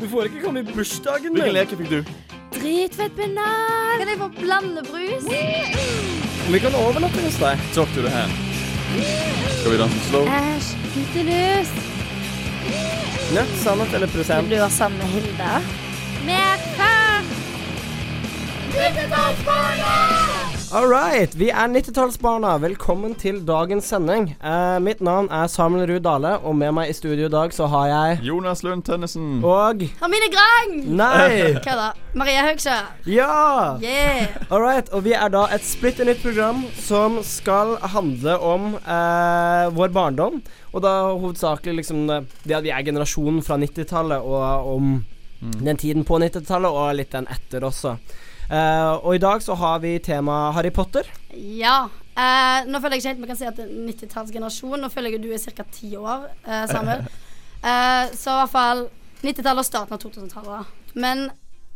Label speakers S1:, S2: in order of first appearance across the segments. S1: Du får ikke komme i bursdagen
S2: Hvilken
S1: min.
S2: leke fikk du?
S3: Dritfett banan! Kan jeg få blandebrus?
S1: Vi kan overnatte hos deg.
S2: Talk to the hand. Skal vi danse slow?
S3: Æsj, guttelus!
S1: Nødt, sannhet eller
S4: Vil
S1: prosent?
S4: du være sammen med Hilda?
S3: Mer fun!
S1: All right, vi er 90-tallsbarna. Velkommen til dagens sending. Eh, mitt navn er Samuel Ruud Dale, og med meg i studio i dag så har jeg
S2: Jonas Lund Tønnesen.
S1: Og
S4: Hermine Grang!
S1: Nei!
S4: Hva da? Maria Høgsjø.
S1: Ja!
S4: Yeah!
S1: All right, og vi er da et splitter nytt program som skal handle om eh, vår barndom. Og da hovedsakelig liksom eh, det at vi er generasjonen fra 90-tallet, og om den tiden på 90-tallet, og litt den etter også. Eh, og i dag så har vi temaet Harry Potter.
S4: Ja. eh, nå føler jeg ikke helt vi kan si at det er 90-tallsgenerasjon. Nå føler jeg jo du er ca. ti år, eh, Samuel. Eh, så i hvert fall 90-tallet og starten av 2000-tallet. Men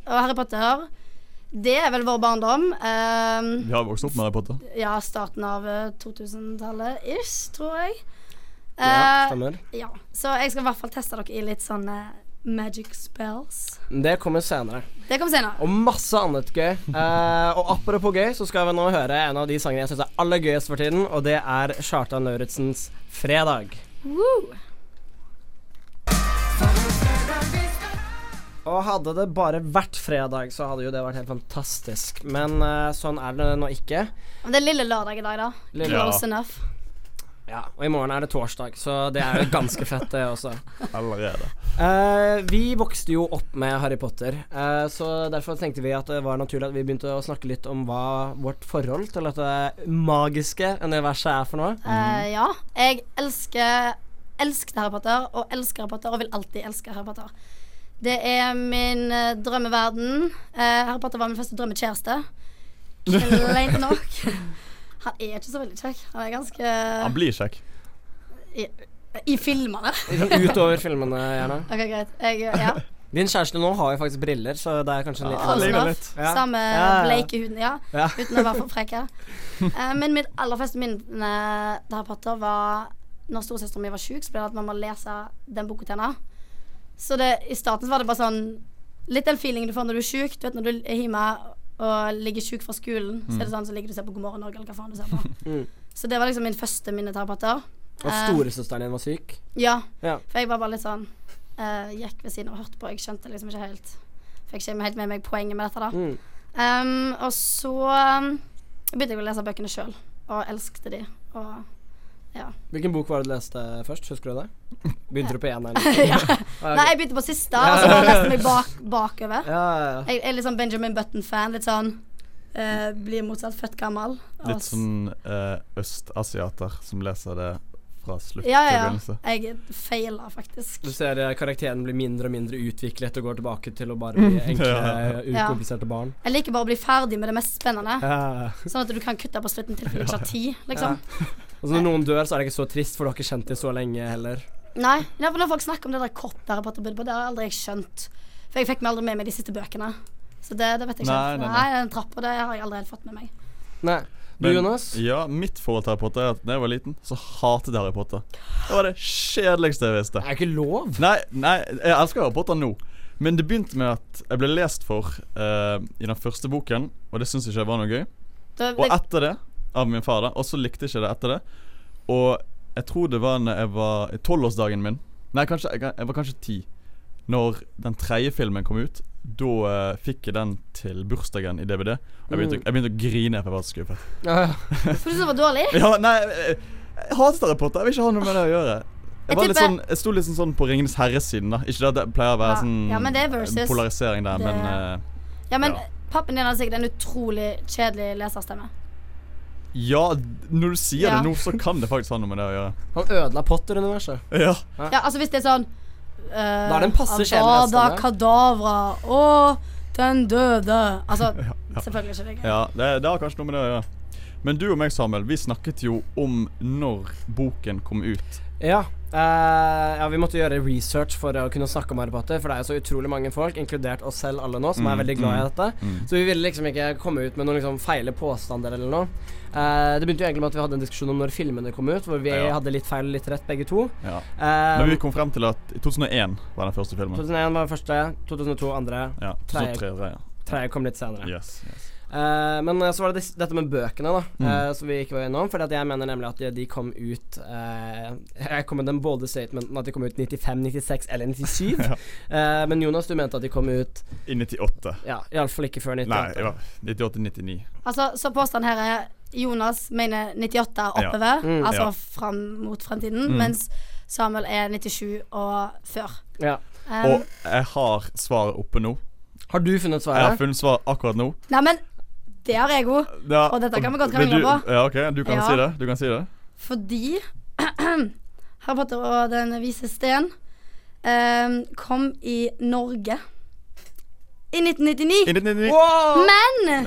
S4: og Harry Potter, det er vel vår barndom. Eh,
S2: Vi har vokst opp med Harry Potter.
S4: ja, starten av eh, 2000-tallet ish, tror jeg.
S1: Ja,
S4: Eh,
S1: stemmer.
S4: ja. Så jeg skal i hvert fall teste dere i litt sånne magic spells.
S1: Det kommer senere.
S4: Det kommer senere.
S1: Og masse annet gøy. Eh, og apropos gøy, så skal vi nå høre en av de sangene jeg syns er aller gøyest for tiden, og det er Kjartan Lauritzens 'Fredag'. Og hadde det bare vært fredag, så hadde jo det vært helt fantastisk. Men eh, sånn er det nå ikke.
S4: Men Det er lille lørdag i dag, da.
S1: Lille-
S2: Ja.
S4: Close enough.
S1: Ja, Og i morgen er det torsdag, så det er jo ganske fett, det også.
S2: Allerede.
S1: Eh, vi vokste jo opp med Harry Potter, eh, så derfor tenkte vi at det var naturlig at vi begynte å snakke litt om hva vårt forhold til dette magiske universet er for noe.
S4: Eh, ja. Jeg elsker elsket Harry Potter, og elsker Harry Potter, og vil alltid elske Harry Potter. Det er min eh, drømmeverden. Eh, Harry Potter var min første drømmekjæreste. Kleint nok. Han er ikke så veldig kjekk. Han er ganske
S2: Han blir kjekk.
S4: i, I filmene.
S1: Utover filmene, gjerne.
S4: OK, greit. Jeg, ja.
S1: Din kjæreste nå har jo faktisk briller, så det er kanskje en
S2: han
S1: liten
S2: ligner
S4: Close
S2: litt.
S4: enough.
S1: Ja.
S4: Samme
S1: Ja, ja.
S4: bleike huden, ja.
S1: Ja.
S4: Uten å være for frekk her. Eh, men mitt aller første minne til Harry Potter var når storesøsteren min var sjuk, så ble det at man må lese den boka til henne. Så det, i starten så var det bare sånn Litt den feelingen du får når du er sjuk. Du vet når du er hjemme og ligger sjuk fra skolen, så er det sånn så ligger du og ser på God morgen Norge, eller hva faen du ser på.
S1: Mm.
S4: Så det var liksom min første minne til Harry Potter.
S1: Og
S4: Eh.
S1: storesøsteren din var syk.
S4: Ja.
S1: Ja.
S4: For jeg var bare litt sånn eh, Gikk ved siden av og hørte på. Jeg skjønte liksom ikke helt Fikk ikke helt med meg poenget med dette, da.
S1: Mm.
S4: Um, og så um, begynte jeg å lese bøkene sjøl, og elsket de. Og
S1: Hvilken bok var det du leste først? Husker du det? Begynte du på eneren?
S4: ja.
S1: Ah, ok.
S4: Nei, jeg begynte på siste, og så bare leste jeg meg bak, bakover.
S1: Ja, ja, ja.
S4: Jeg er litt sånn Benjamin Button-fan. Litt sånn eh, blir motsatt født gammel. Og
S2: Litt
S4: s-
S2: sånn eh, østasiater som leser det fra slutt
S4: ja,
S2: til
S4: ja,
S2: begynnelse.
S4: ja. Jeg feila faktisk.
S1: Du ser eh, karakteren blir mindre og mindre utviklet og går tilbake til å bare
S4: Mm.
S1: bli enkle,
S2: Ja.
S1: ukompliserte barn.
S4: Jeg liker bare å bli ferdig med det mest spennende.
S1: Ja.
S4: Sånn at du kan kutte på slutten til du ikke har tid, liksom.
S1: Og så når noen dør, så er det ikke så trist, for du har ikke kjent dem så lenge heller.
S4: Nei, ja, for når folk snakker om det der koppet Harry Potter bodde på, det har aldri jeg skjønt. For jeg fikk meg aldri med meg de siste bøkene. Så det, det vet jeg ikke.
S2: Nei,
S4: helt.
S2: nei,
S4: Nei,
S2: nei.
S4: den trappa, det har jeg aldri helt fått med meg.
S1: Nei. Du,
S2: Men-
S1: Jonas?
S2: Ja, mitt forhold til Harry Potter er at da jeg var liten, så hatet jeg Harry Potter. Det var det kjedeligste jeg visste.
S1: Det er ikke lov.
S2: Nei, nei, jeg elsker Harry Potter nå. Men det begynte med at jeg ble lest for eh, i den første boken, og det syns ikke jeg var noe gøy.
S4: Da,
S2: Og etter det, av min far, da, og så likte jeg ikke det etter det. Og jeg tror det var når jeg var i tolvårsdagen min Nei, kanskje, jeg, jeg var kanskje ti. Når den tredje filmen kom ut, da eh, fikk jeg den til bursdagen i DVD. Og jeg begynte,
S1: Mm.
S2: jeg begynte å grine, for jeg var så skuffet.
S1: Ja,
S4: for du synes det var dårlig?
S2: Ja, nei, jeg, jeg hater Harry Potter. Jeg vil ikke ha noe med det å gjøre.
S4: Jeg
S2: Jeg, var litt
S4: tipper-
S2: sånn, jeg sto litt sånn, sånn på Ringenes herre-siden, da. Ikke det at det pleier å være
S4: Ja.
S2: sånn
S4: Ja, men det er versus.
S2: polarisering der,
S4: Det-
S2: men eh,
S4: Ja, men
S2: Ja.
S4: pappen din hadde sikkert en utrolig kjedelig leserstemme.
S2: Ja, når du sier
S4: Ja.
S2: det nå, så kan det faktisk ha noe med det å gjøre.
S1: Han ødela Potter-universet.
S2: Ja.
S4: Ja, altså hvis det er sånn uh,
S1: er det en passe kjedelig leserstemme.
S4: Kadavra, å, den døde. Altså, selvfølgelig ikke det. gøy.
S2: Ja, det, det har kanskje noe med det å gjøre. Men du og meg, Samuel, vi snakket jo om når boken kom ut.
S1: Ja. eh, Eh, ja, vi måtte gjøre research for å kunne snakke om Harry Potter, for det er jo så utrolig mange folk, inkludert oss selv alle nå, som er
S2: Mm,
S1: veldig glad i
S2: mm,
S1: dette.
S2: mm.
S1: Så vi ville liksom ikke komme ut med noen liksom feile påstander eller noe. Eh, det begynte jo egentlig med at vi hadde en diskusjon om når filmene kom ut, hvor vi
S2: Ja.
S1: hadde litt feil og litt rett, begge to.
S2: Ja.
S1: Eh,
S2: Men vi kom frem til at i 2001 var den første filmen.
S1: 2001 var den første, 2002 andre,
S2: Ja, 2003, ja.
S1: tredje kom litt senere.
S2: Yes, yes.
S1: Eh, men eh, så var det dis- dette med bøkene, da,
S2: Mm.
S1: eh, som vi ikke var innom. For jeg mener nemlig at de, de kom ut eh, Jeg kom med den bolde statementen at de kom ut 95, 96 eller 97.
S2: Ja.
S1: Eh, men Jonas, du mente at de kom ut
S2: I 98.
S1: Ja, iallfall ikke før 98.
S2: Nei, 98-99.
S4: Altså, så påstanden her er Jonas mener 98 oppover,
S1: Ja. Mm.
S4: altså
S2: Ja. Mm.
S4: fram mot fremtiden, mens Samuel er 97 og før.
S1: ja.
S4: Um,
S2: Og jeg har svaret oppe nå.
S1: Har du funnet
S2: Jeg har
S1: svaret?
S2: funnet svar akkurat nå.
S4: Nei, men det har jeg òg.
S2: Ja,
S4: Og dette kan vi godt
S2: vil
S4: krangle
S2: du-
S4: på.
S2: Ja, ok, du kan
S4: Ja.
S2: si det. Du kan si det.
S4: Fordi Harry Potter og Den vise sten um, kom i Norge i 1999.
S2: I 1999.
S1: Wow!
S4: Men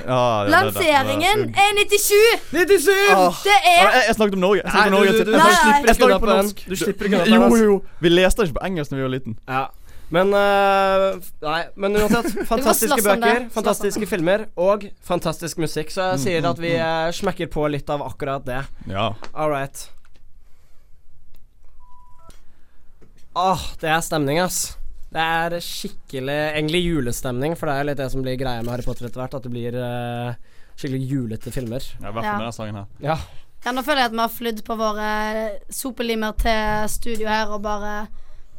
S2: Ja, ja, det er det.
S4: lanseringen
S2: Ja,
S4: er 97!
S1: 97!
S4: Det
S2: ja,
S4: er
S2: jeg, jeg snakket om Norge. Jeg
S1: Nei,
S2: snakket om
S1: du,
S2: Norge
S1: du, du,
S2: til-
S1: du,
S4: Nei, nei.
S1: slipper
S2: Jeg
S1: ikke
S2: snakker på
S1: unna på den.
S2: norsk.
S1: Du slipper ikke unna på
S2: Jo,
S1: den. ass.
S2: jo, jo. Vi leste ikke på engelsk da vi var liten.
S1: Ja. Men eh, f- Nei, men uansett. Fantastiske
S4: slåss om
S1: bøker,
S4: det. Slåss om
S1: fantastiske filmer og fantastisk musikk. Så jeg
S2: Mm,
S1: sier at vi eh, smekker på litt av akkurat det.
S2: Ja.
S1: All right. Åh, det er stemning, ass. Det er skikkelig Egentlig julestemning, for det er jo litt det som blir greia med Harry Potter etter hvert. At det blir eh, skikkelig julete filmer.
S2: ja I hvert fall
S4: Ja.
S2: med denne sangen her.
S1: Ja.
S4: Ja, nå føler jeg at vi har flydd på våre sopelimer til studio her og bare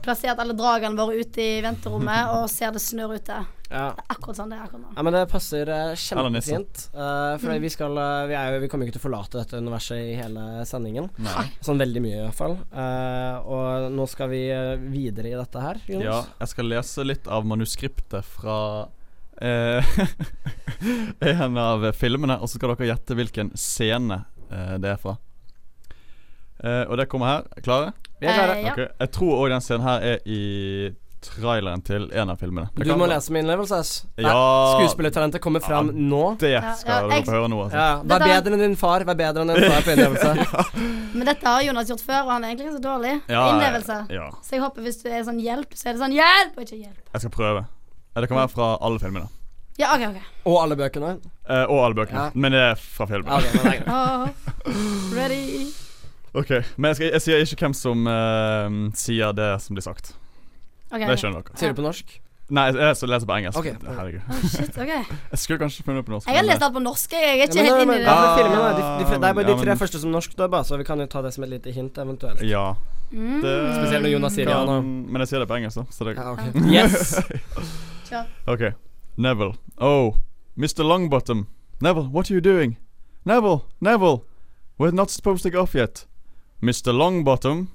S4: plassert alle dragene våre ute i venterommet og ser det snør ute.
S1: ja.
S4: Akkurat sånn det er akkurat nå.
S1: Ja, men det passer eh,
S2: Eller nissen.
S1: kjempefint. eh, for vi, skal, eh, vi, er jo, vi kommer jo ikke til å forlate dette universet i hele sendingen.
S2: Nei.
S1: Sånn veldig mye, i hvert fall. Eh, og nå skal vi eh, videre i dette her, Jonas.
S2: Ja, jeg skal lese litt av manuskriptet fra eh, en av filmene, og så skal dere gjette hvilken scene eh, det er fra. Eh, og det kommer her. Klare?
S1: Vi er klare.
S4: Eh, ja.
S2: Ok, Jeg tror òg den scenen her er i traileren til en av filmene. Det
S1: Du
S2: kan
S1: må
S2: være-
S1: lese med innlevelse, ass. Nei,
S2: Ja.
S1: Skuespillertalentet kommer fram
S2: Ja.
S1: nå.
S2: Det
S4: Ja,
S2: skal
S4: ja,
S2: dere
S4: jeg-
S2: få høre nå, altså.
S1: Ja, Vær
S4: Dette er-
S1: bedre enn din far, vær bedre enn din far på innlevelse.
S4: Men dette har Jonas gjort før, og han er egentlig ganske dårlig.
S2: Ja,
S4: Innlevelse.
S2: Ja.
S4: Så jeg håper hvis du er sånn hjelp, så er det sånn hjelp og ikke hjelp.
S2: Jeg skal prøve. Ja, Det kan være fra alle filmene.
S4: Ja, OK, OK.
S1: Og alle bøkene.
S2: Eh, og alle bøkene.
S1: Ja.
S2: Men det er fra filmen.
S1: Ja, det, men det er greit.
S4: Åh, ready.
S2: Ok, Men jeg, skal, jeg sier ikke hvem som eh, sier det som blir sagt.
S4: Ok,
S2: Det
S4: ok.
S2: skjønner dere.
S1: Sier du på norsk?
S2: Nei, jeg, jeg leser på engelsk.
S1: Ok.
S2: Herregud.
S4: Oh, shit, ok.
S2: Jeg skulle kanskje funnet det på norsk.
S4: Jeg har
S2: men-
S4: lest alt på norsk, jeg. Jeg er
S1: Ja,
S4: ikke
S1: men
S4: helt
S1: det-
S4: inne
S1: men-
S4: i
S1: ja,
S4: det.
S1: men filmene, de, de, de, det er bare de
S2: Ja,
S1: tre
S2: men-
S1: første som norsk dubber, så vi kan jo ta det som et lite hint eventuelt.
S2: Ja.
S4: Mm.
S2: Det,
S1: Spesielt når Jonas sier ja nå.
S2: kan- Men jeg sier det på engelsk, da. Så det,
S1: Ja, ok. Yes!
S4: Kjør.
S2: ok. Neville. Oh, Mr. Longbottom. Neville, what are you doing? Neville, Neville. We're not supposed to go off yet. Mr. Longbottom.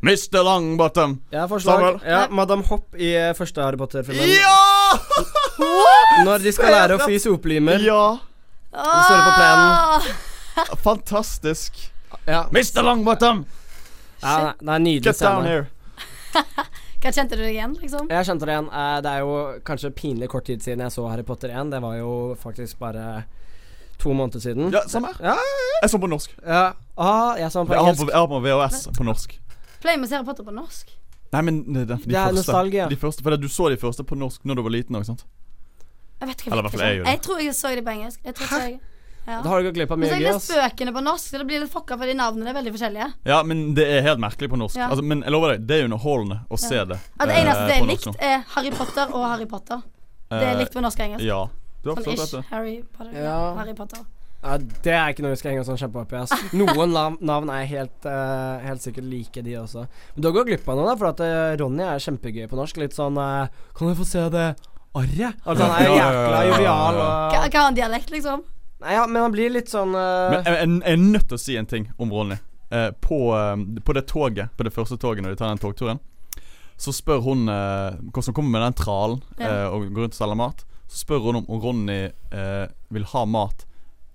S2: Mr. Longbottom.
S1: Jeg har forslag.
S2: Samuel.
S1: Ja, Madam Hopp i eh, første Harry Potter-filmen.
S2: Ja!
S1: Når de skal lære å fly sopelimer.
S2: ja!
S1: Det står på plenen.
S2: Fantastisk.
S1: Ja.
S2: Mr. Longbottom,
S1: Ja, nei, det er en nydelig
S2: get down
S1: scene.
S2: here.
S4: Hva kjente du deg igjen, liksom?
S1: Jeg kjente det igjen. Eh, Det er jo kanskje pinlig kort tid siden jeg så Harry Potter 1. Det var jo faktisk bare to måneder siden.
S2: Ja, samme her.
S1: Ja.
S2: Jeg så på norsk.
S1: Ja. Ah, jeg så den på
S2: Jeg har på,
S1: engelsk.
S2: jeg har på VHS på norsk.
S4: Pleier vi å se Harry Potter på norsk?
S2: Nei, men eh, de, de,
S1: Det er
S2: første,
S1: nostalgi, ja.
S2: de første For du så de første på norsk når du var liten òg, sant?
S4: Jeg vet ikke,
S2: Eller i
S4: jeg,
S2: hvert fall
S4: vet
S2: jeg
S4: ikke.
S2: gjorde det.
S4: jeg tror jeg så det på engelsk. Jeg tror jeg, ja.
S1: Da har du ikke glipp av
S4: Men så
S1: mye
S4: har
S1: gøy,
S4: jeg
S1: ass.
S4: lest bøkene på norsk, så det blir litt fucka fordi navnene er veldig forskjellige.
S2: Ja, men det er helt merkelig på norsk.
S4: Ja.
S2: Altså, men jeg lover deg, det er underholdende å se det.
S4: At det
S2: eh,
S4: eneste det
S2: på
S4: er
S2: norsk
S4: likt, er Harry Potter og Harry Potter.
S2: nå.
S4: Det er
S2: Eh,
S4: likt på norsk og engelsk.
S2: Ja. Du har
S4: Sånn
S2: absolutt
S4: ish.
S2: rett. i det.
S4: Harry Potter. Ja.
S1: Ja.
S4: Harry Potter.
S1: Ja, det er ikke noe vi skal henge oss sånn kjempeopp i. ass. Noen lav- navn er helt, eh, helt sikkert like, de også. Men du har gått glipp av noe, da, for at eh, Ronny er kjempegøy på norsk. Litt sånn eh, Kan jeg få se det
S4: Sånn
S1: arret? Altså, han er
S2: Ja, ja, ja,
S1: jækla
S2: ja, ja, ja.
S1: jovial
S4: Hva hva
S1: og
S4: har han dialekt, liksom?
S1: Nei, ja, men han blir litt sånn eh,
S2: Men jeg, jeg, jeg er nødt til å si en ting om Ronny. Eh, på, eh, på det toget, på det første toget når de tar den togturen, så spør hun eh, Hvordan som kommer med den tralen eh,
S4: Ja.
S2: og går rundt og selger mat. Så spør hun om, om Ronny eh, vil ha mat,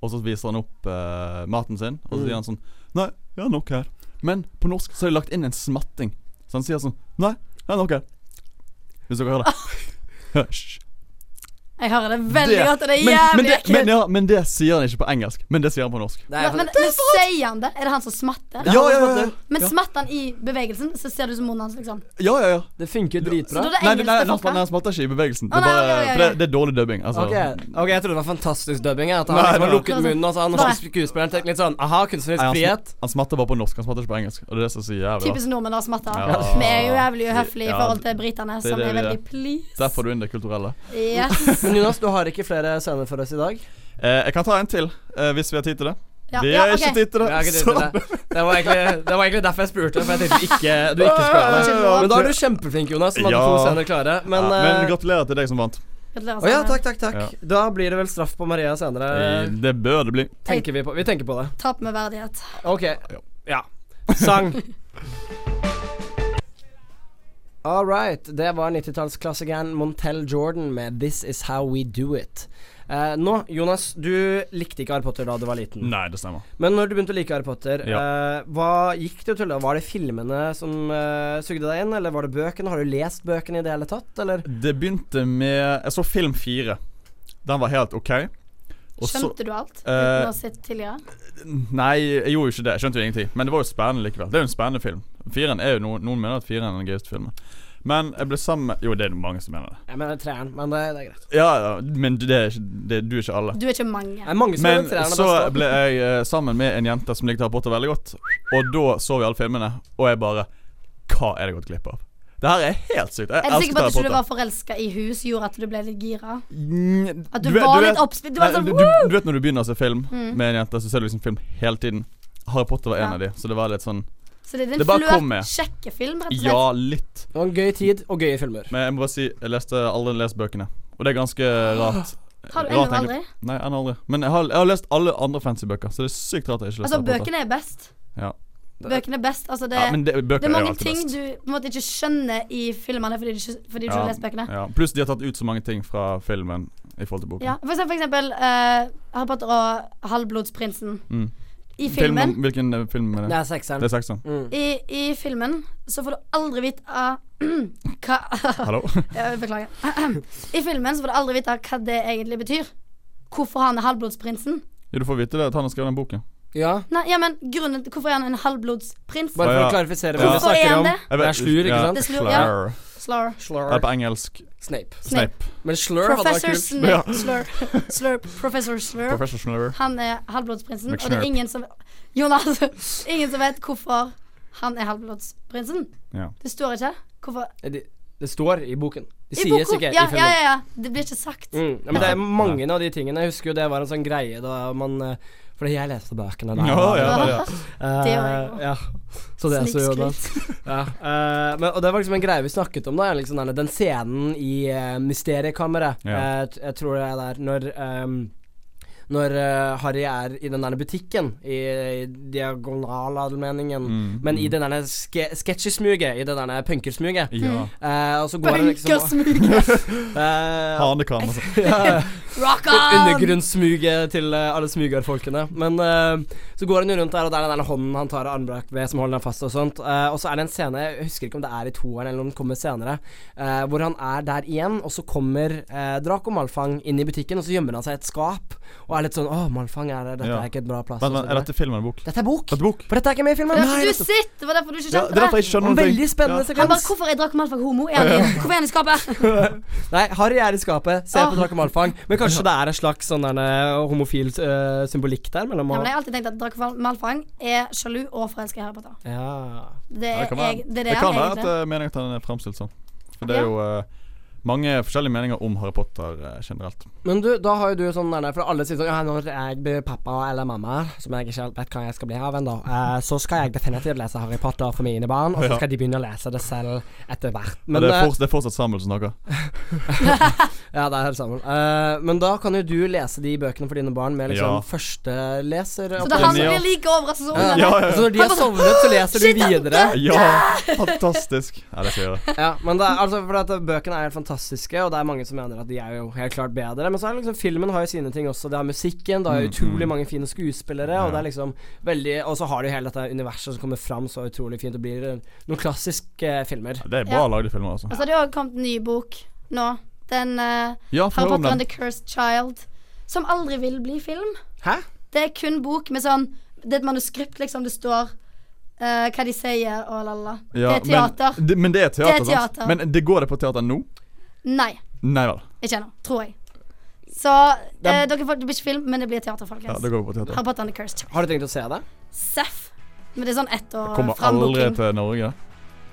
S2: og så viser han opp eh, maten sin. Og så
S1: Mm.
S2: sier han sånn Nei, jeg har nok her. Men på norsk så har de lagt inn en smatting. Så Ah. han sier sånn Nei, jeg har nok her. Hvis dere hører det. Hysj.
S4: Jeg hører det veldig
S2: Det-
S4: godt, og det er
S2: men, men, det,
S4: jævlig
S2: men,
S4: ekkelt.
S2: ja, men det sier han ikke på engelsk, men det sier han på norsk.
S1: Det
S4: Men, men, men sier han det? Er det han som smatter?
S2: Ja, ja, ja.
S4: Men
S2: ja.
S4: smatter han i bevegelsen, så ser det ut som munnen hans, liksom.
S2: ja, ja, ja.
S1: Det funker jo
S4: Så
S1: dritbra.
S4: da er det
S2: Nei, nei,
S4: engelske
S2: nei, han
S4: folk,
S2: smatter-
S4: da.
S2: han smatter ikke i bevegelsen.
S4: Å,
S2: Det er,
S4: nei,
S2: bare,
S4: ja, ja, ja,
S2: For det,
S4: ja.
S2: det er dårlig dubbing. Altså.
S1: Ok, ok, jeg trodde det var fantastisk dubbing. jeg, At han
S2: Nei,
S1: liksom har
S2: nei.
S1: lukket munnen og så har den norske skuespilleren tenkt litt sånn Aha, kunstnerisk
S2: Nei, altså- han,
S1: frihet.
S2: sm- han smatter bare på norsk, han smatter ikke på engelsk. Og det er det som sier jævlig
S4: Typisk nordmenn har smatter.
S2: altså- Ja.
S4: Vi er jo jævlig uhøflige i
S2: Ja,
S4: forhold til britene,
S2: det er
S4: som
S2: det
S4: er
S2: vi er.
S4: veldig please.
S2: Der får du inn det kulturelle.
S4: Yes.
S1: Men Jonas, du har ikke flere scener for oss i dag.
S2: Eh, jeg kan ta en til, eh, hvis vi har tid til det.
S4: Ja,
S2: vi
S4: ja,
S2: har
S4: ok.
S2: ikke tid til det.
S1: Jeg har ikke
S2: så-
S1: tid til det. Det var, egentlig, det var egentlig derfor jeg spurte, for jeg tenkte ikke, du ikke skulle
S4: Kanskje
S1: det.
S4: nå.
S1: Men da er du kjempeflink, Jonas, som hadde
S2: Ja.
S1: to scener klare. Men,
S2: Men, ja, men
S1: eh,
S2: gratulerer til deg som vant.
S4: Gratulerer.
S1: Å ja,
S4: Sanne.
S1: takk, takk, takk.
S2: Ja.
S1: Da blir det vel straff på Maria senere.
S2: Eh, Det bør det bli.
S1: Tenker vi på. Vi tenker på det.
S4: Tap med verdighet.
S1: Ok. Ja. Sang. All right. Det var 90-tallsklassikeren Montel Jordan med 'This Is How We Do It'. Eh, nå, Jonas, du likte ikke Harry Potter da du var liten.
S2: Nei, det stemmer.
S1: Men når du begynte å like Harry Potter, eh, hva gikk du til da? Var det filmene som eh, sugde deg inn, eller var det bøkene? Har du lest bøkene i det hele tatt, eller?
S2: Det begynte med Jeg så film fire. Den var helt OK. Og så-
S4: Skjønte du alt? Uten
S2: eh,
S4: å ha sett tidligere?
S2: Nei, jeg gjorde jo ikke det. Jeg skjønte jo ingenting. Men det var jo spennende likevel. Det er jo en spennende film. Fireren er jo Noen, noen mener at fireren er den gøyeste filmen. Men jeg ble sammen med Jo, det er det mange som mener det.
S1: Jeg mener treeren, men det, det er greit.
S2: Ja, ja, men det er ikke, det, du er ikke alle.
S4: Du er ikke
S1: Det
S4: mange.
S1: er mange som
S2: Men
S1: mener treeren er
S2: så
S1: best. da.
S2: ble jeg eh, sammen med en jente som likte Harry Potter veldig godt. Og da så vi alle filmene, og jeg bare Hva er det jeg gått glipp av? Det her er helt sykt. Jeg
S4: Er
S2: elsket
S4: du sikker på at
S2: Harry
S4: du ikke
S2: Potter.
S4: var forelska i hus, gjorde at du ble litt gira?
S2: Mm,
S4: At du,
S2: vet-
S4: var
S2: vet-
S4: litt oppspilt? Du var
S2: Nei,
S4: sånn
S2: du,
S4: «Woo!» Mm.
S2: du, du vet når du begynner å se film med en jente, så ser du liksom film hele tiden. Harry Potter var en
S4: Ja.
S2: av de, så det var litt sånn
S4: Så det er
S2: det
S4: din
S2: bare kom med.
S4: flørt sjekkefilm, rett og slett?
S2: Ja, litt.
S1: Det var en gøy tid og gøye filmer.
S2: Men jeg må bare si, jeg leste aldri lest bøkene. Og det er ganske rart.
S4: Har du
S2: Rart,
S4: ennå aldri?
S2: egentlig. Nei, ennå aldri. Men jeg har, jeg har lest alle andre fancy bøker, så det er sykt rart at jeg ikke leste
S4: Altså,
S2: Harry Potter.
S4: bøkene er best.
S2: Ja.
S4: Bøkene er best. Altså, det,
S2: ja, men det, bøker
S4: det er
S2: jo
S4: mange
S2: alltid
S4: ting
S2: best.
S4: du på en måte ikke skjønner i filmene fordi du ikke, fordi du ikke har lest bøkene.
S2: Ja. Pluss de har tatt ut så mange ting fra filmen i forhold til boken.
S4: Ja, for eksempel, for eksempel eh, Harry Potter og Halvblodsprinsen.
S2: Mm.
S4: I
S2: Film om,
S4: filmen
S2: hvilken eh, film er
S1: Det
S2: det?
S1: er sekseren. Mm.
S2: Det er sekseren.
S4: i, I filmen så får du aldri vite ah, hva
S2: Hallo?
S4: Ja, Beklager. I filmen så får du aldri vite hva det egentlig betyr. Hvorfor han er halvblodsprinsen.
S2: Jo, du får vite det at han har skrevet den boken.
S1: Ja.
S4: Nei, ja, men grunnen til Hvorfor er han en halvblodsprins?
S2: Å,
S1: Bare for å
S2: ja.
S1: klarifisere hva
S2: Ja.
S1: vi
S4: Hvorfor er
S1: snakker
S4: han
S1: om.
S4: det?
S2: Jeg
S1: Det er slur, ikke sant?
S2: Ja.
S4: Det er slur, ja.
S2: Slur.
S4: Slur.
S2: Det
S1: Slur.
S2: er på engelsk.
S1: Snape.
S2: Snape.
S1: Men slur hadde vært
S4: Professor
S1: kult.
S4: Snape. Slur. Slur. Professor Slur.
S2: Professor Slur.
S4: Han er halvblodsprinsen, og det er
S2: McSnurp.
S4: ingen som Jonas, ingen som vet hvorfor han er halvblodsprinsen.
S2: Ja.
S4: Det står ikke. Hvorfor
S1: Eh, de- Det står i boken. Det
S4: I
S1: sies
S4: boka-
S1: ikke
S4: ja,
S1: i filmen.
S4: ja, ja, ja. Det blir ikke sagt.
S1: Mm. Ja, men det er mange av de tingene. Jeg husker jo det var en sånn greie da man eh, Fordi jeg leste bøkene da.
S2: Ja, ja, ja.
S1: Eh,
S4: Det gjør jeg
S1: ja. Så det altså så jo da.
S4: Snikskryt.
S1: Ja. eh, men, og det var liksom en greie vi snakket om, da. Liksom den, den scenen i eh, Mysteriekammeret.
S2: Ja.
S1: Eh, t- jeg tror det er der når ehm, når eh, Harry er i den der butikken, i, i diagonaladmeningen,
S2: Mm,
S1: men i det der ske sketsjesmuget, i det der punkersmuget
S4: Mm.
S2: Ja.
S1: eh, Og så går han liksom og-
S4: Bunkersmuge.
S1: eh,
S2: Hanekam, altså.
S1: ja,
S4: Rock on!
S1: undergrunnssmuget til eh, alle smugarfolkene. Men eh, så går han jo rundt der, og der er den hånden han tar armbrak ved som holder han fast og sånt. Eh, og så er det en scene, jeg husker ikke om det er i toeren eller om den kommer senere, eh, hvor han er der igjen, og så kommer eh, Draco Malfang inn i butikken, og så gjemmer han seg i et skap, og er litt sånn Å, Malfang, er det, dette
S2: Ja.
S1: er ikke et bra plass.
S2: Vent,
S1: og
S2: vent,
S1: så
S2: er
S1: videre.
S2: dette film eller bok?
S1: dette er bok!
S2: Dette er bok.
S1: For dette er ikke med i
S4: Det
S1: filmen.
S4: var derfor
S1: Nei,
S4: du
S1: nettopp.
S4: sitter, det var derfor du ikke
S2: Ja, det er derfor
S4: skjønte det.
S2: jeg ikke skjønner
S1: En
S2: noen
S1: veldig
S2: ting.
S1: spennende
S4: Han bare
S1: sekvens.
S4: 'Hvorfor er Draco Malfag homo?' Er han i, hvorfor er han i skapet?
S1: Nei, Harry er i skapet, ser på
S4: Åh.
S1: Draco Malfang, men kanskje det er en slags sånn der eh, homofil eh, symbolikk der mellom
S4: Ja, men jeg har alltid tenkt at Draco Mal- Malfang er sjalu og forelska i Harry Potter.
S1: ja.
S4: Det
S2: Ja,
S4: er,
S2: det kan være,
S4: jeg, det er det
S2: det kan
S4: han
S2: være at
S4: egentlig
S2: eh, meningen at han er fremstilt sånn. For det er
S4: Ja.
S2: jo eh, mange forskjellige meninger om Harry Potter eh, generelt.
S1: Men du, da har jo du sånn der, for alle sier sånn Ja, når jeg blir pappa eller mamma, som jeg ikke helt vet hva jeg skal bli av ennå, eh, så skal jeg definitivt lese Harry Potter for mine barn, og så
S2: Ja.
S1: skal de begynne å lese det selv etter hvert.
S2: Og
S1: Men
S2: det, er
S1: eh,
S2: fortsatt, det er fortsatt Samuel som snakker.
S1: Ja, det er helt sammen. Eh, men da kan jo du lese de bøkene for dine barn med liksom
S2: Ja. eh,
S1: førsteleser.
S4: Så det er han som
S2: Ja.
S4: blir like overrasket som
S1: Ja.
S4: ungene.
S2: Ja, ja,
S1: Så når de
S4: Han
S1: har
S4: bare sånn,
S1: sovnet, så leser
S4: shit,
S1: du videre.
S2: ja. Fantastisk. Ja, det skal jeg gjøre.
S1: Ja, men det er, altså, for at Bøkene er helt fantastiske, og det er mange som mener at de er jo helt klart bedre. Men så er det liksom, filmen har jo sine ting også. Det har musikken, det har
S2: Mm,
S1: utrolig
S2: mm.
S1: mange fine skuespillere.
S2: Ja.
S1: Og det er liksom veldig Og så har du hele dette universet som kommer fram så utrolig fint og blir eh, noen klassiske filmer.
S2: Ja, Det er bra lagde filmer, altså.
S4: Og så har det òg kommet ny bok nå. den eh,
S2: Ja, for
S4: Harry
S2: om
S4: Potter and
S2: den.
S4: the Cursed Child, som aldri vil bli film.
S1: Hæ?
S4: Det er kun bok med sånn Det er et manuskript, liksom. Det står eh, hva de sier og la-la. det
S2: Ja,
S4: er teater.
S2: Men det, men det er teater,
S4: Det er teater.
S2: sant? Men det går det på teater nå?
S4: Nei.
S2: Nei vel.
S4: Ikke ennå, tror jeg. Så eh, dere får, det blir ikke film, men det blir teater, folkens.
S2: Ja, det går på teater.
S4: Harry Potter and the Cursed Child.
S1: Har du tenkt å se det?
S4: Seff. Men det er sånn ett år
S2: Kommer aldri
S4: frambooking.
S2: til Norge.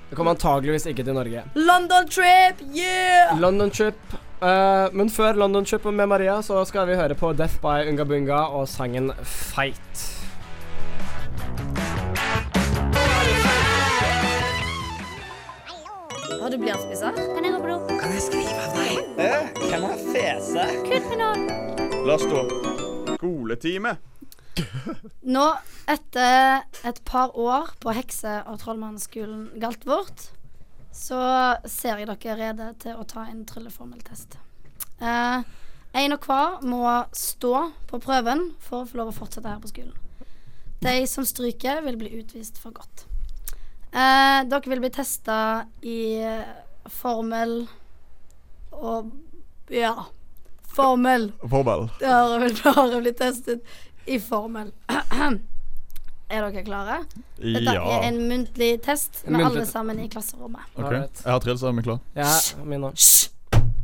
S1: Det kommer antageligvis ikke til Norge.
S4: London trip, yeah!
S1: London Trip. eh, men før London Trip med Maria, så skal vi høre på Death by Unga Bunga og sangen Fight.
S4: Har du blyantspissa?
S3: Kan jeg ha blod?
S2: La oss stå. Skoletime.
S4: Nå, etter et par år på hekse- og trollmannsskolen Galtvort, så ser jeg dere rede til å ta en trylleformeltest. Eh, en og hver må stå på prøven for å få lov å fortsette her på skolen. De som stryker, vil bli utvist for godt. Eh, dere vil bli testa i formel og Ja, formel.
S2: Forball.
S4: Dere vil bare bli testet i formel. er dere klare? Dette
S2: Ja.
S4: er en muntlig test
S1: En
S4: med
S1: muntlig
S4: alle
S1: te-
S4: sammen i klasserommet.
S2: Ok,
S1: Alright.
S2: Jeg har trillesarmen klar.
S1: Ja, min nå.
S4: Hysj!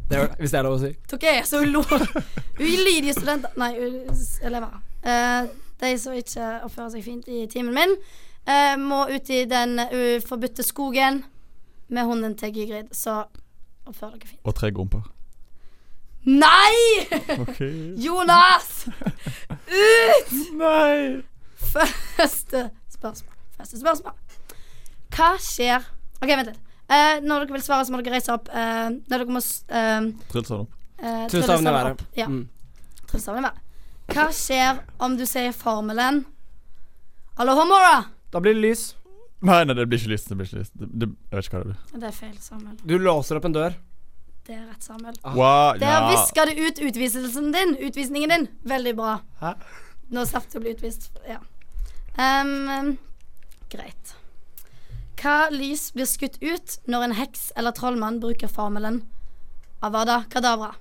S1: Det er, hvis det er lov å si.
S4: Tok jeg så ulo- ulydige studenter Nei, u- s- elever. Eh, de som ikke oppfører seg fint i timen min, eh, må ut i den uh, forbudte skogen med hunden til Gygrid, så oppfør dere fint.
S2: Og tre gomper.
S4: Nei!
S2: Ok.
S4: Jonas! Ut!
S2: Nei!
S4: Første spørsmål. Første spørsmål. Hva skjer OK, vent litt. Eh, når dere vil svare, så må dere reise opp. eh, når dere må s- eh,
S2: Trillesarmen opp.
S4: eh,
S1: Tryll
S4: trylle
S1: staven i
S4: sammen
S1: været.
S4: opp. Ja,
S1: Mm.
S4: trylle staven i været. Hva skjer om du sier formelen Alohomora?
S1: Da blir det lys.
S2: Nei, nei, det blir ikke lyst. Det blir ikke lyst. Det, det, jeg vet ikke hva det blir.
S4: Det er feil, Samuel.
S1: Du låser opp en dør.
S4: Det er rett, Samuel.
S2: Wow,
S4: Der viska du ut utviselsen din. Utvisningen din. Veldig bra.
S1: Hæ?
S4: Nå slapp du å bli utvist. Ja. Ehm, greit. Hva lys blir skutt ut når en heks eller trollmann bruker formelen Avada Kadavra?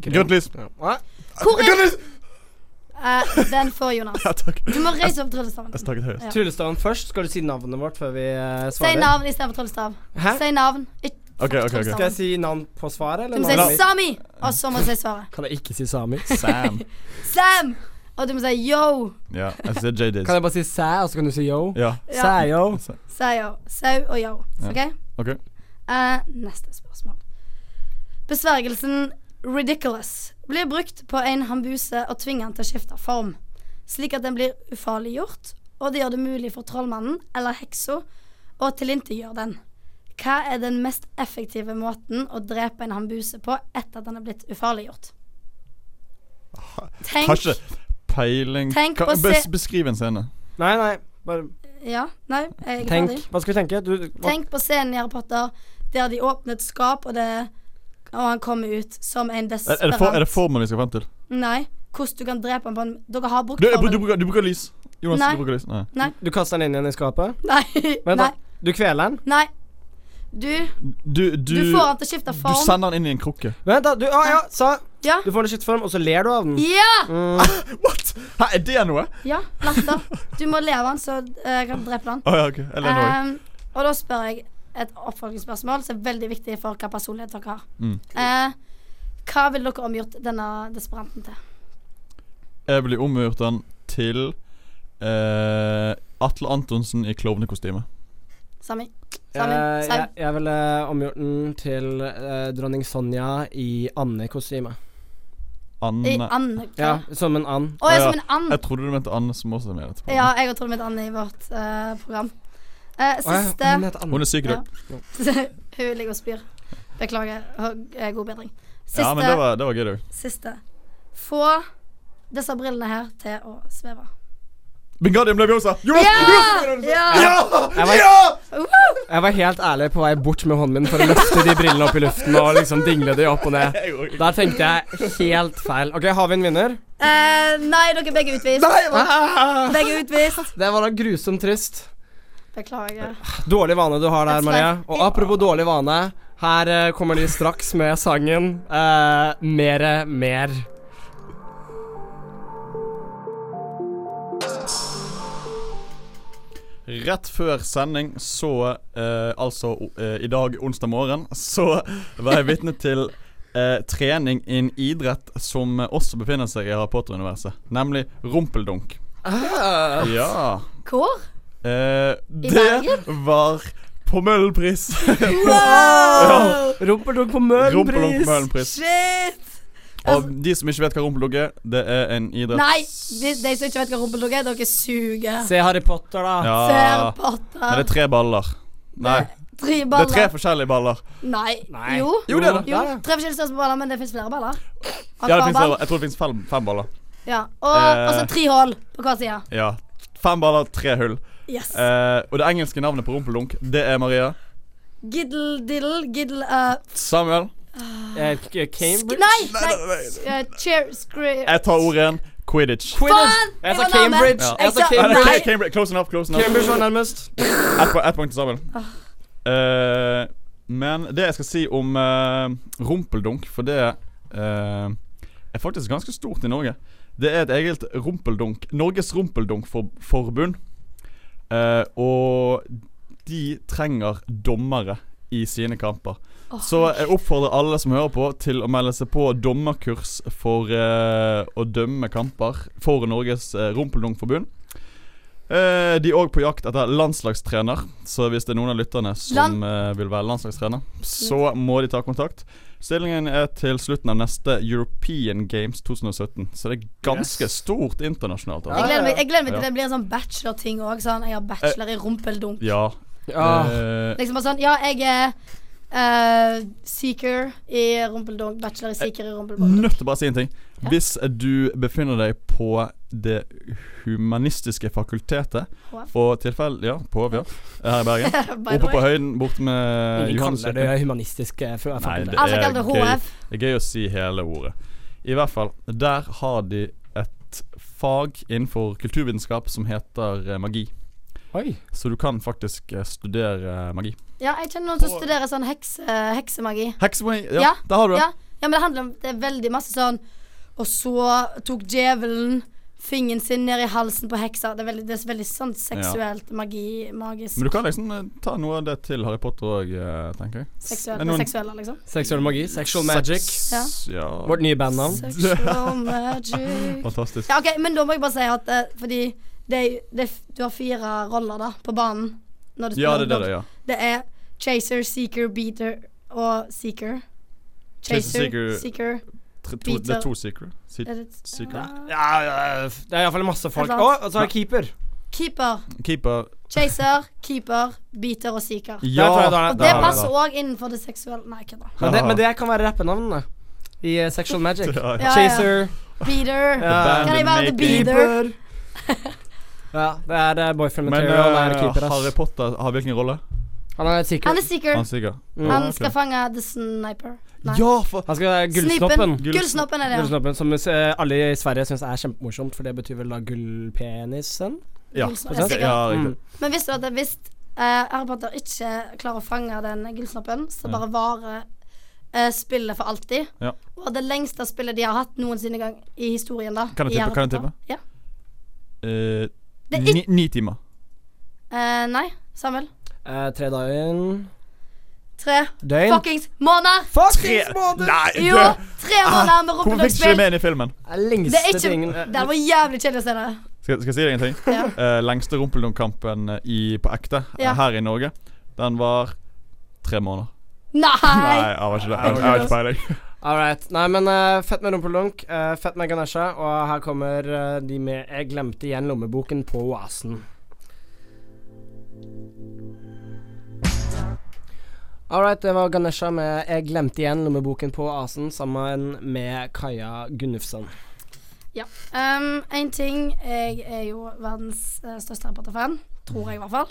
S2: Grønt lys.
S1: Ja. Nei,
S4: Hvor er
S2: lys!
S4: Eh, Den får Jonas.
S2: Ja, takk.
S4: Du må reise opp tryllestaven.
S2: Jeg snakket høyest.
S4: Ja.
S1: Tryllestaven først. Skal du si navnet vårt før vi eh,
S4: Si
S1: svarer?
S4: navn istedenfor tryllestav.
S1: Hæ?
S4: Si navn. Ik
S2: Ok, ok, ok.
S1: Skal jeg si navn på svaret, eller
S4: Du må si
S1: navnet mitt?
S4: Sami, og så må du si svaret.
S1: Kan jeg ikke si Sami?
S2: Sam.
S4: Sam! Og du må si yo.
S2: Ja, jeg sier JDs.
S1: Kan jeg bare si sæ, og så kan du si yo?
S2: Ja.
S4: Ja.
S1: Sæ yo.
S2: Sa-
S4: Si yo. Sau og yo.
S2: Ja.
S4: OK?
S2: Ok.
S4: Eh, neste spørsmål. Besvergelsen 'ridiculous' blir brukt på en hambuse og tvinger han til å skifte form, slik at den blir ufarliggjort, og det gjør det mulig for trollmannen eller heksa å tilintetgjøre den. Hva er den mest effektive måten å drepe en hambuse på etter at den er blitt ufarliggjort? Tenk
S2: Har ikke peiling
S4: Tenk
S2: Ka-
S4: på se-
S2: bes Beskriv en scene.
S1: Nei, nei. Bare
S4: Ja, nei, jeg er
S1: tenk.
S4: ferdig.
S1: Hva skal vi tenke? Du, hva?
S4: Tenk på scenen i Harry Potter der de åpner et skap, og, det, og han kommer ut som en
S2: Er,
S4: desperat
S2: er, det, for, er det formen vi skal frem til?
S4: Nei. Hvordan du kan drepe ham på en Dere har brukt
S2: Du, du,
S4: formen.
S2: bruker, du bruker lys. Jonas,
S4: Nei.
S2: du bruker lys. Nei.
S1: du kaster den inn igjen i skapet?
S4: Nei.
S1: Vent,
S4: Nei.
S1: da. Du kveler den?
S4: Nei. Du,
S2: Du, du,
S4: du får han til å skifte
S2: du
S4: form.
S2: sender han inn i en krukke.
S1: Vent, da. Du, ah, ja, sa.
S4: Ja.
S1: du får den i skittform, og så ler du av den.
S4: Ja!
S1: Mm.
S2: What?! Hæ, er det noe?
S4: ja. Latter. Du må leve han, så eh, jeg kan drepe han.
S2: Å ja, ok. Eller noe.
S4: Ehm, og da spør jeg et oppfølgingsspørsmål som er veldig viktig for hva personlighet dere har.
S2: Mm.
S4: Eh, hva ville dere omgjort denne desperanten til?
S2: Jeg blir omgjort den til eh, Atle Antonsen i klovnekostyme.
S4: Sami? Sami?
S1: Eh,
S4: Sami?
S1: jeg, jeg ville omgjort den til eh, dronning Sonja i andekostyme.
S2: Anne
S4: I and...
S1: Ja, som en and.
S4: Å, jeg er
S2: Ja,
S4: som en and.
S2: Jeg trodde du mente Anne som også er med i dette
S4: Mm. Ja,
S2: programmet.
S4: jeg og Trond Mitt Anne i vårt eh, program. Eh,
S1: Å, ja, Mm.
S4: siste
S1: hun heter Anne.
S2: Hun er syk i dag.
S4: Hun ligger og spyr. Beklager. Ha- eh, God bedring. Siste.
S2: Ja, men det var, det var gøy, det òg.
S4: siste. Få disse brillene her til å sveve.
S2: Wingardium Leviosa! Jonas!
S4: Ja! ja!
S1: Jeg var, jeg var helt ærlig på vei bort med hånden min for å løfte de brillene opp i luften og liksom dingle de opp og ned. Der tenkte jeg helt feil. Ok, har vi en vinner?
S4: Eh, nei, dere er begge utvist.
S1: Ah,
S4: Begge er utvist.
S1: Det var da grusomt trist.
S4: Beklager.
S1: Dårlig vane du har der,
S4: That's
S1: Maria.
S4: life.
S1: Og apropos dårlig vane. Her eh, kommer de straks med sangen eh, Mere, mer.
S2: Rett før sending, så eh, altså eh, i dag onsdag morgen, så var jeg vitne til eh, trening i en idrett som også befinner seg i Harry Potter-universet, nemlig rumpeldunk.
S4: Ah.
S2: Ja.
S4: Hvor?
S2: Eh, det
S4: Bergen?
S2: var på Møhlenpris.
S1: Rumpeldunk på
S2: Rumpeldunk på
S1: Møhlenpris.
S2: Møhlenpris.
S4: Shit!
S2: Og
S4: Altså-
S2: de som ikke vet hva rumpeldunk er, det er en idrett
S4: Nei, de, de som ikke vet hva rumpeldunk er, dere suger.
S1: Se Harry Potter, da.
S4: Ser
S2: Ja. Nei, Ah. det
S4: potter.
S2: er tre baller. Nei, det
S4: Tre
S2: er tre
S4: baller.
S2: forskjellige baller.
S4: Nei.
S1: Nei.
S4: Jo.
S2: Jo, det er det.
S4: Jo,
S1: Ja, ja.
S4: tre forskjellige størrelser på baller, men det fins flere baller.
S2: Ja, det finnes,
S4: Akvaball.
S2: jeg tror det fins fem, fem baller.
S4: Ja. Og, og så
S2: Eh.
S4: tre hull på hver side.
S2: Ja. Fem baller, tre hull.
S4: Yes.
S2: Eh, og det engelske navnet på rumpeldunk, det er Maria.
S4: Giddle diddle giddle uh,
S2: Samuel.
S1: Eh, K-
S4: sk-
S1: Cambridge?
S4: Nei!
S2: Nei,
S4: nei.
S2: nei, nei.
S4: Uh, cheer, screw
S2: Jeg tar ordet igjen. Quidditch.
S1: Quidditch. Jeg sa
S4: Det var
S1: Cambridge.
S2: navnet.
S1: Jeg
S4: Ja. Jeg
S1: sa
S4: sa-
S2: Eller,
S1: Cambridge.
S4: Nei.
S2: Cambridge. Close enough, close enough.
S1: Cambridge var nærmest.
S2: Ett po- ett poeng til Samuel. Eh, men det jeg skal si om eh, rumpeldunk, for det eh, er faktisk ganske stort i Norge. Det er et eget rumpeldunk Norges rumpeldunk-forbund. Eh, og de trenger dommere i sine kamper. Så jeg oppfordrer alle som hører på, til å melde seg på dommerkurs for eh, å dømme kamper for Norges eh, rumpeldunk-forbund. Eh, de er òg på jakt etter landslagstrener, så hvis det er noen av lytterne som
S4: Land-
S2: eh, vil være landslagstrener, så må de ta kontakt. Stillingen er til slutten av neste European Games 2017, så det er ganske
S1: Yes.
S2: stort internasjonalt.
S1: Ja,
S4: Jeg
S2: Altså.
S1: ja,
S4: gleder meg,
S1: ja.
S4: jeg gleder meg til
S2: Ja. Eh.
S4: det blir en sånn bachelor-ting òg. Sånn, jeg har bachelor i rumpeldunk.
S2: Ja.
S1: Ja.
S2: eh,
S4: Liksom bare sånn Ja, jeg er eh, seeker i rumpeldunk. Bachelor i seeker i rumpeldunk.
S2: Nødt til å bare si en ting. Hvis du befinner deg på Det humanistiske fakultetet
S4: HF.
S2: og tilfell... Ja, på HF, ja. Her i Bergen.
S4: By the
S2: Oppe på
S4: way.
S2: høyden, borte med
S1: Ingen kaller det
S2: Johannes.
S1: humanistiske fra
S2: Nei, det-
S1: fakultetet.
S2: er
S4: Alle Altså, kaller det
S2: gøy.
S4: HF.
S2: Det er gøy å si hele ordet. I hvert fall, der har de et fag innenfor kulturvitenskap som heter eh, magi.
S4: Ah,
S1: Oi.
S2: Så du kan faktisk eh, studere magi.
S4: Ja, jeg kjenner noen som studerer sånn hekse, heksemagi.
S2: Heksemagi! Ja,
S4: Ja,
S2: der har du det.
S4: Ja, ja, men det handler om Det er veldig masse sånn Og så tok djevelen fingeren sin ned i halsen på heksa. Det er veldig, det er veldig sånn seksuelt magi, magisk
S2: Men du kan liksom eh, ta noe av det til Harry Potter òg, tenker jeg.
S4: Seksuelt,
S2: Men noen-
S4: seksuelle, liksom.
S1: Seksuell magi. Sexual magic.
S2: Sex- Ja.
S1: Vårt nye bandnavn.
S4: Sexual magic
S2: Fantastisk.
S4: Ja, OK, men da må jeg bare si at eh, fordi det, er- det, er- du har fire roller, da, på banen. Når du
S2: Ja,
S4: spiller
S2: det er det,
S4: Overwatch.
S2: det, ja.
S4: Det er chaser, seeker, beater og seeker.
S2: Chaser,
S4: Chaser,
S2: seeker-
S4: seeker
S2: Tre, to, det er
S4: Peter.
S2: to secret. Se
S4: er det-
S2: Seeker.
S1: Ja, ja, det er iallfall masse folk.
S4: Et
S1: Å,
S4: eller annet.
S1: og så er det keeper.
S4: Keeper.
S2: Keeper.
S4: Chaser, keeper, beater og seeker.
S1: Der tror jeg det er-
S4: Og
S1: der
S4: det
S1: er
S4: passer òg innenfor det seksuelle Nei, kødda.
S1: Men det, men det kan være rappenavnene i eh, Sexual Magic.
S2: Ja, ja.
S4: Ja,
S1: Chaser,
S4: Beater.
S1: Ja.
S4: Kan jeg være the
S2: Bandmaking.
S4: beater?
S1: keeper Ja, det er eh, boyfriend
S2: Men
S1: material. det er
S2: eh,
S1: keeper,
S2: Harry
S1: ass.
S2: Potter har hvilken rolle?
S1: Han er sikker.
S4: Han er seeker.
S2: Han Sigurd.
S1: Mm.
S4: Han
S2: ok.
S4: skal fange the sniper. Nei.
S2: Ja, for
S1: Han skal være gullsnoppen.
S4: Snipen. Gullsnoppen er det. ja.
S1: Gullsnoppen, Som eh, alle i Sverige syns er kjempemorsomt, for det betyr vel da gullpenisen?
S2: Ja,
S4: Gullsnoppen,
S1: sant?
S4: jeg er
S2: ja
S4: sikker.
S2: riktig.
S1: Mm.
S4: Men visste du at det- hvis eh, Harry Potter ikke klarer å fange den gullsnoppen, så
S2: Ja.
S4: bare varer eh, spillet for alltid?
S2: Ja.
S4: Og det lengste spillet de har hatt noensinne gang i historien, da.
S2: Kan jeg
S4: i
S2: tippe?
S4: Harry
S2: Kan jeg
S4: Potter. Ja.
S2: Eh,
S4: Det er
S2: ni, ni timer.
S4: Eh, nei, Samuel.
S1: Eh, tre døgn
S4: Tre
S1: Døgn?
S4: fuckings måneder!
S1: Fuckings måneder!
S2: Nei, Ah,
S4: Jo, tre måneder med
S2: Hvorfor fikk ikke
S4: rumpedogsspill.
S2: du med den i filmen?
S1: Det er lengste
S4: Det er ikke
S1: tingen eh,
S4: Det var jævlig kjedelig å se det.
S2: Skal, skal jeg si deg en ting?
S4: Ja.
S2: Eh, lengste rumpeldunk-kampen i- på ekte eh,
S4: Ja.
S2: her i Norge, den var tre måneder. Nei,
S4: Nei!
S2: jeg var ikke det. Jeg, jeg har ikke peiling.
S1: All right. Nei, men eh, fett med rumpeldunk, eh, fett med Ganesha, og her kommer eh, de med 'Jeg glemte igjen lommeboken på oasen'. All right, det var Ganesha med 'Jeg glemte igjen lommeboken på oasen', sammen med Kaja Gunnufsson.
S4: Ja. Um, en ting Jeg er jo verdens eh, største Harry Potter-fan. Tror jeg, i hvert fall.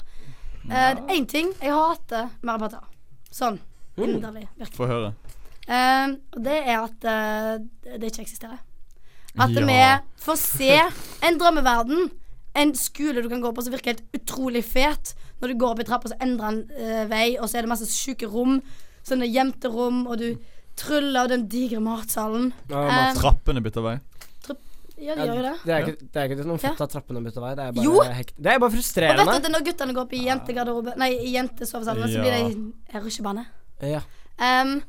S4: Én ting jeg hater med Harry Potter. Sånn.
S1: Mm. Uh.
S4: Inderlig. Virkelig.
S2: Få høre.
S4: Um, og det er at eh, det ikke eksisterer. At
S2: Ja.
S4: vi får se en drømmeverden. En skole du kan gå på som virker helt utrolig fet. Når du går opp i trappa, så endrer han eh, vei, og så er det masse sjuke rom. sånne gjemte rom, og du tryller av den digre matsalen.
S1: Ja,
S4: Eh,
S2: Trappene bytter vei.
S4: ja, de Eh, gjør jo det.
S1: Det er ikke, det er ikke noen
S4: Ja.
S1: fett av trappene bytter vei. Det er bare,
S4: Jo!
S1: hekt- det er bare
S4: Og vet du
S1: frustrerende.
S4: at når guttene går opp i jentegarderobe Nei, i jentesovesalene, så blir de eh, rusjebane.
S1: Ja.
S4: Ehm,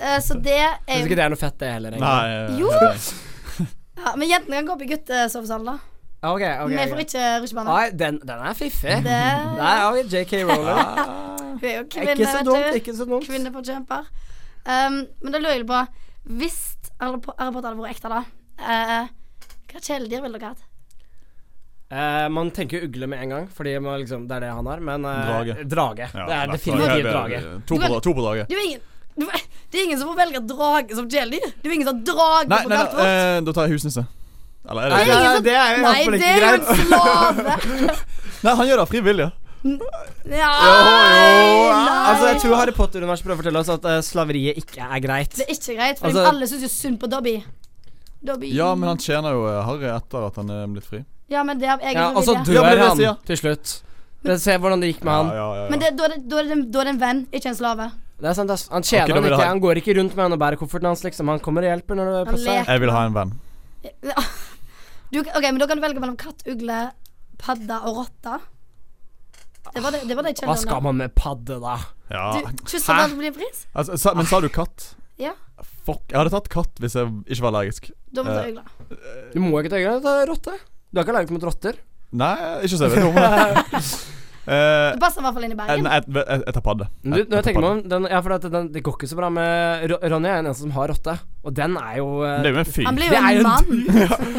S4: eh, så det
S1: Jeg
S4: er
S1: syns
S4: jo
S1: ikke det er noe fett, det heller. egentlig.
S2: Nei, eh,
S4: Jo!
S2: nei.
S4: ja, Men jentene kan gå opp i guttesovesalen, da.
S1: Ja, Ok, ok,
S4: Vi får
S1: greit.
S4: ikke rusjebane.
S1: Nei, den, den er fiffig.
S4: Det
S1: Nei, ja, ok, JK Rowling. Ah.
S4: Hun er jo kvinne,
S1: Ikke så
S4: vet
S1: dumt,
S4: du.
S1: ikke så dumt.
S4: Kvinneforkjemper. Um, men da lurer jeg på Hvis alle på- alle båter hadde vært ekte, da eh, Hva kjæledyr ville dere hatt?
S1: Eh, man tenker jo ugle med en gang, fordi man liksom, det er det han har, men eh,
S2: Drage.
S1: drage.
S2: Ja,
S1: det er
S2: nei,
S1: definitivt
S2: det er-
S1: drage.
S2: To på, to på draget.
S4: Det er jo ingen du, Det er ingen som får velge drage som kjæledyr. Det er jo ingen som har drage
S2: Nei,
S4: på
S2: nei,
S4: galt
S2: nei
S4: vårt.
S2: eh, da tar jeg husnisse. Eller er
S1: Nei,
S2: det
S1: nei,
S2: det?
S1: nei, det er jo
S4: Nei,
S1: iallfall
S4: det
S1: ikke
S4: er jo en
S1: greit.
S4: slave.
S2: Nei, han gjør det av fri vilje.
S4: Ja,
S1: Ah, Altså, jeg
S4: nei.
S1: tror Harry Potter-universet prøver å fortelle oss at eh, slaveriet ikke er greit.
S4: Det er ikke greit, for
S1: Altså-
S4: alle syns jo synd på Dobby. Dobby.
S2: Ja, men han tjener jo eh, Harry etter at han er blitt fri.
S4: Ja, men det er av egen
S1: Ja, altså, og så
S4: vilje.
S1: dør
S2: Ja, men det er det jeg
S1: han
S2: sier.
S1: til slutt. Men Se hvordan det gikk med han.
S2: ja, ja.
S4: Men det, da, er det, da, er det, da er det en venn, ikke en slave.
S1: Det er sant, ass. Han tjener
S2: Ok, da
S1: han
S2: vil jeg
S1: ikke.
S2: ha-
S1: Han går ikke rundt med han og bærer kofferten hans, liksom. Han kommer og hjelper når det
S4: Han
S1: passer.
S4: leker.
S2: Jeg vil ha en venn.
S4: Ja. Du, ok, men Da kan du velge mellom katt, ugle, padde og rotte. Det var det, det, var det
S1: Hva skal man med padde, da?
S2: Ja.
S4: Kyssa
S1: Hæ?
S4: den blir en pris?
S2: Altså, sa, men sa du katt?
S4: Ja.
S2: Fuck. Jeg hadde tatt katt hvis jeg ikke var allergisk.
S4: Da må du ta
S2: Eh.
S4: ugle.
S1: Du må ikke ta øynene til rotte. Du er ikke allergisk mot rotter.
S2: Nei, ikke så jeg vet om det. Eh,
S4: Det passer i hvert fall inn
S2: jeg,
S4: i Bergen.
S2: jeg, jeg, jeg tar padde.
S1: Men Du,
S2: Jeg-
S1: når jeg
S2: tar
S1: tenker
S2: padde.
S1: meg om den, ja, for at den, Det går ikke så bra med Ro- Ronny er den eneste som har rotte, og den er jo eh,
S2: Men Det er jo en fyr.
S4: Han blir
S1: Det
S4: jo
S1: er jo
S4: en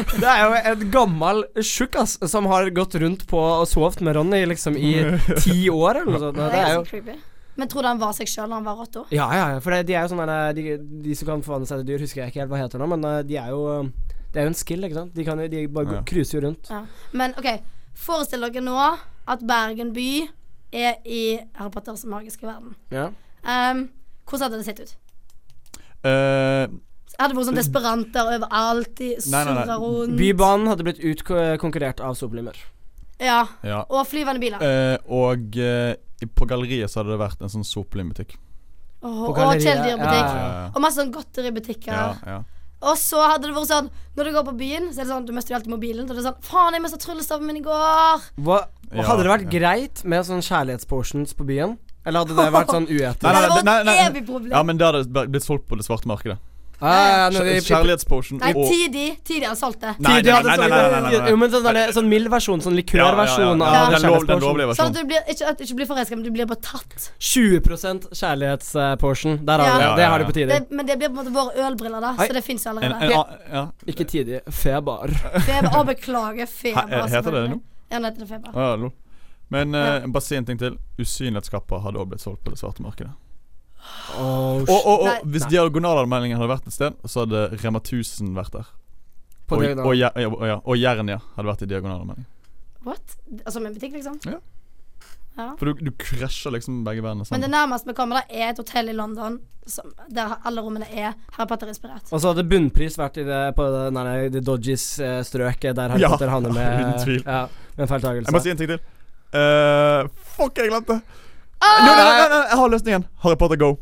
S4: mann.
S1: Det er jo en gammel tjukk ass som har gått rundt på og sovet med Ronny liksom i ti år eller noe sånt.
S4: Det
S1: Det
S4: er
S1: er jo
S4: så creepy. Men tror du han var seg sjøl da han var rotta?
S1: Ja, ja, ja, for det, de er jo sånne der, de, de som kan forvandle seg til dyr, husker jeg ikke helt hva heter nå, men eh, de er jo eh, Det er jo en skill, ikke sant? De, kan, jo- de bare
S2: Ja.
S1: går- cruiser jo rundt.
S4: Ja. Men OK, forestill dere nå at Bergen by er i Harry Potters magiske verden.
S1: Ja.
S4: Ehm, hvordan hadde det sett ut?
S2: Eh,
S4: Hadde det vært sånn desperanter overalt, de
S2: Nei, nei, nei.
S4: surra rundt
S1: Bybanen hadde blitt utkonkurrert av soplimer.
S4: Ja.
S2: ja.
S4: Og flyvende biler.
S2: Eh, og eh, i- på galleriet så hadde det vært en sånn sopelynbutikk.
S4: Og,
S1: På
S4: og
S1: galleriet,
S4: kjæledyrbutikk.
S1: Ja.
S4: Og masse sånn
S2: Eh,
S4: godteributikker.
S2: ja, ja.
S4: Og så hadde det vært sånn Når du går på byen, så er det sånn Du mister jo alltid mobilen. Så er det sånn Faen, jeg mista tryllestaven min i går.
S1: Hva,
S2: Ja,
S1: hadde det vært
S2: ja.
S1: greit med sånn kjærlighetsportions på byen? Eller hadde det vært sånn uetisk?
S2: Nei, nei,
S4: Det hadde
S2: nei,
S4: vært
S2: nei,
S4: et
S2: nei.
S4: evig problem.
S2: ja, men det hadde det blitt solgt på det svarte markedet.
S1: Ja, Ah, ja, ja, når de-
S2: Kjærlighetspotion
S4: Nei,
S2: og
S4: tidlig. Tidlig hadde solgt det.
S2: Nei,
S1: Tidligere
S2: nei,
S1: hadde
S2: nei, nei, nei,
S1: sånn-
S2: nei, nei, nei.
S1: Jo, men sånn, der, sånn mild versjon, sånn
S2: Ja, ja, ja, ja. Den,
S1: likørversjon av
S2: lov, den
S1: kjærlighetsportion.
S2: lovlige
S4: Sånn at
S2: versjonen.
S4: du blir, ikke, at du ikke blir forelska, men du blir bare tatt.
S1: 20 kjærlighetsportion. Der har
S4: Ja.
S1: du det.
S2: Ja,
S1: Det
S2: ja,
S1: har du
S2: ja.
S1: på tider.
S4: Det, men det blir på en måte våre ølbriller, da.
S1: Oi.
S4: Så det fins jo
S2: En,
S4: allerede.
S2: en, an- ja.
S1: Ikke tidig. Febar.
S4: Feber. Å, beklager. Feber.
S2: He- heter det det
S4: selvfølgelig.
S2: nå?
S4: Ja, nå heter det feber.
S2: Å, ja, lo. Men eh, bare si en ting til. Usynlighetskapper hadde også blitt solgt på det svarte markedet.
S1: Oh,
S2: Og, og,
S4: Nei.
S2: og hvis
S1: Nei.
S2: diagonalanmeldingen hadde vært et sted, så hadde Rema 1000 vært der.
S1: På
S2: og,
S1: diagonal.
S2: og, ja, ja, og, ja, og Jernia hadde vært i diagonalanmelding.
S4: What? Altså med butikk, liksom?
S2: Ja.
S4: Ja.
S2: For du, du krasjer liksom begge verdenene
S4: Men
S2: sammen.
S4: det nærmeste vi kommer, da er et hotell i London som, der alle rommene er Harry Potter-inspirert.
S1: og så hadde bunnpris vært i det, på den der, det Dodgies-strøket der Harry
S2: Ja,
S1: Potter havner med
S2: uten tvil.
S1: Ja, med en
S2: Jeg må
S1: feiltagelse.
S2: si en ting til. Eh, fuck, jeg glemte!
S4: Ah!
S2: Nei, nei, nei, nei, jeg har løsningen. Harry Potter Go.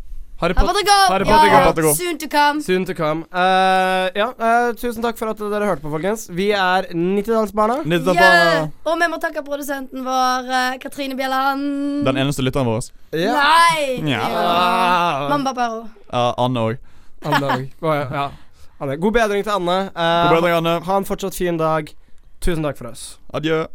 S4: Harry
S1: Harry Potter
S4: Potter go!
S1: Harry Potter
S4: ja,
S2: go, Potter go.
S4: Soon to come.
S1: Soon to come. Eh, ja, eh, tusen takk for at dere hørte på, folkens. Vi er 90-tallsbarna.
S2: Nytt av
S4: Yeah. Og vi må takke produsenten vår, eh, Katrine Bjelland.
S2: den eneste lytteren vår.
S1: Ja.
S4: Nei!
S2: Ja.
S4: Mamma Paparo.
S2: Ja, Anne òg.
S1: Anne òg. Ja. Anne. God bedring til Anne. Eh,
S2: God bedring, Anne.
S1: Ha en fortsatt fin dag. Tusen takk for oss.
S2: Adjø.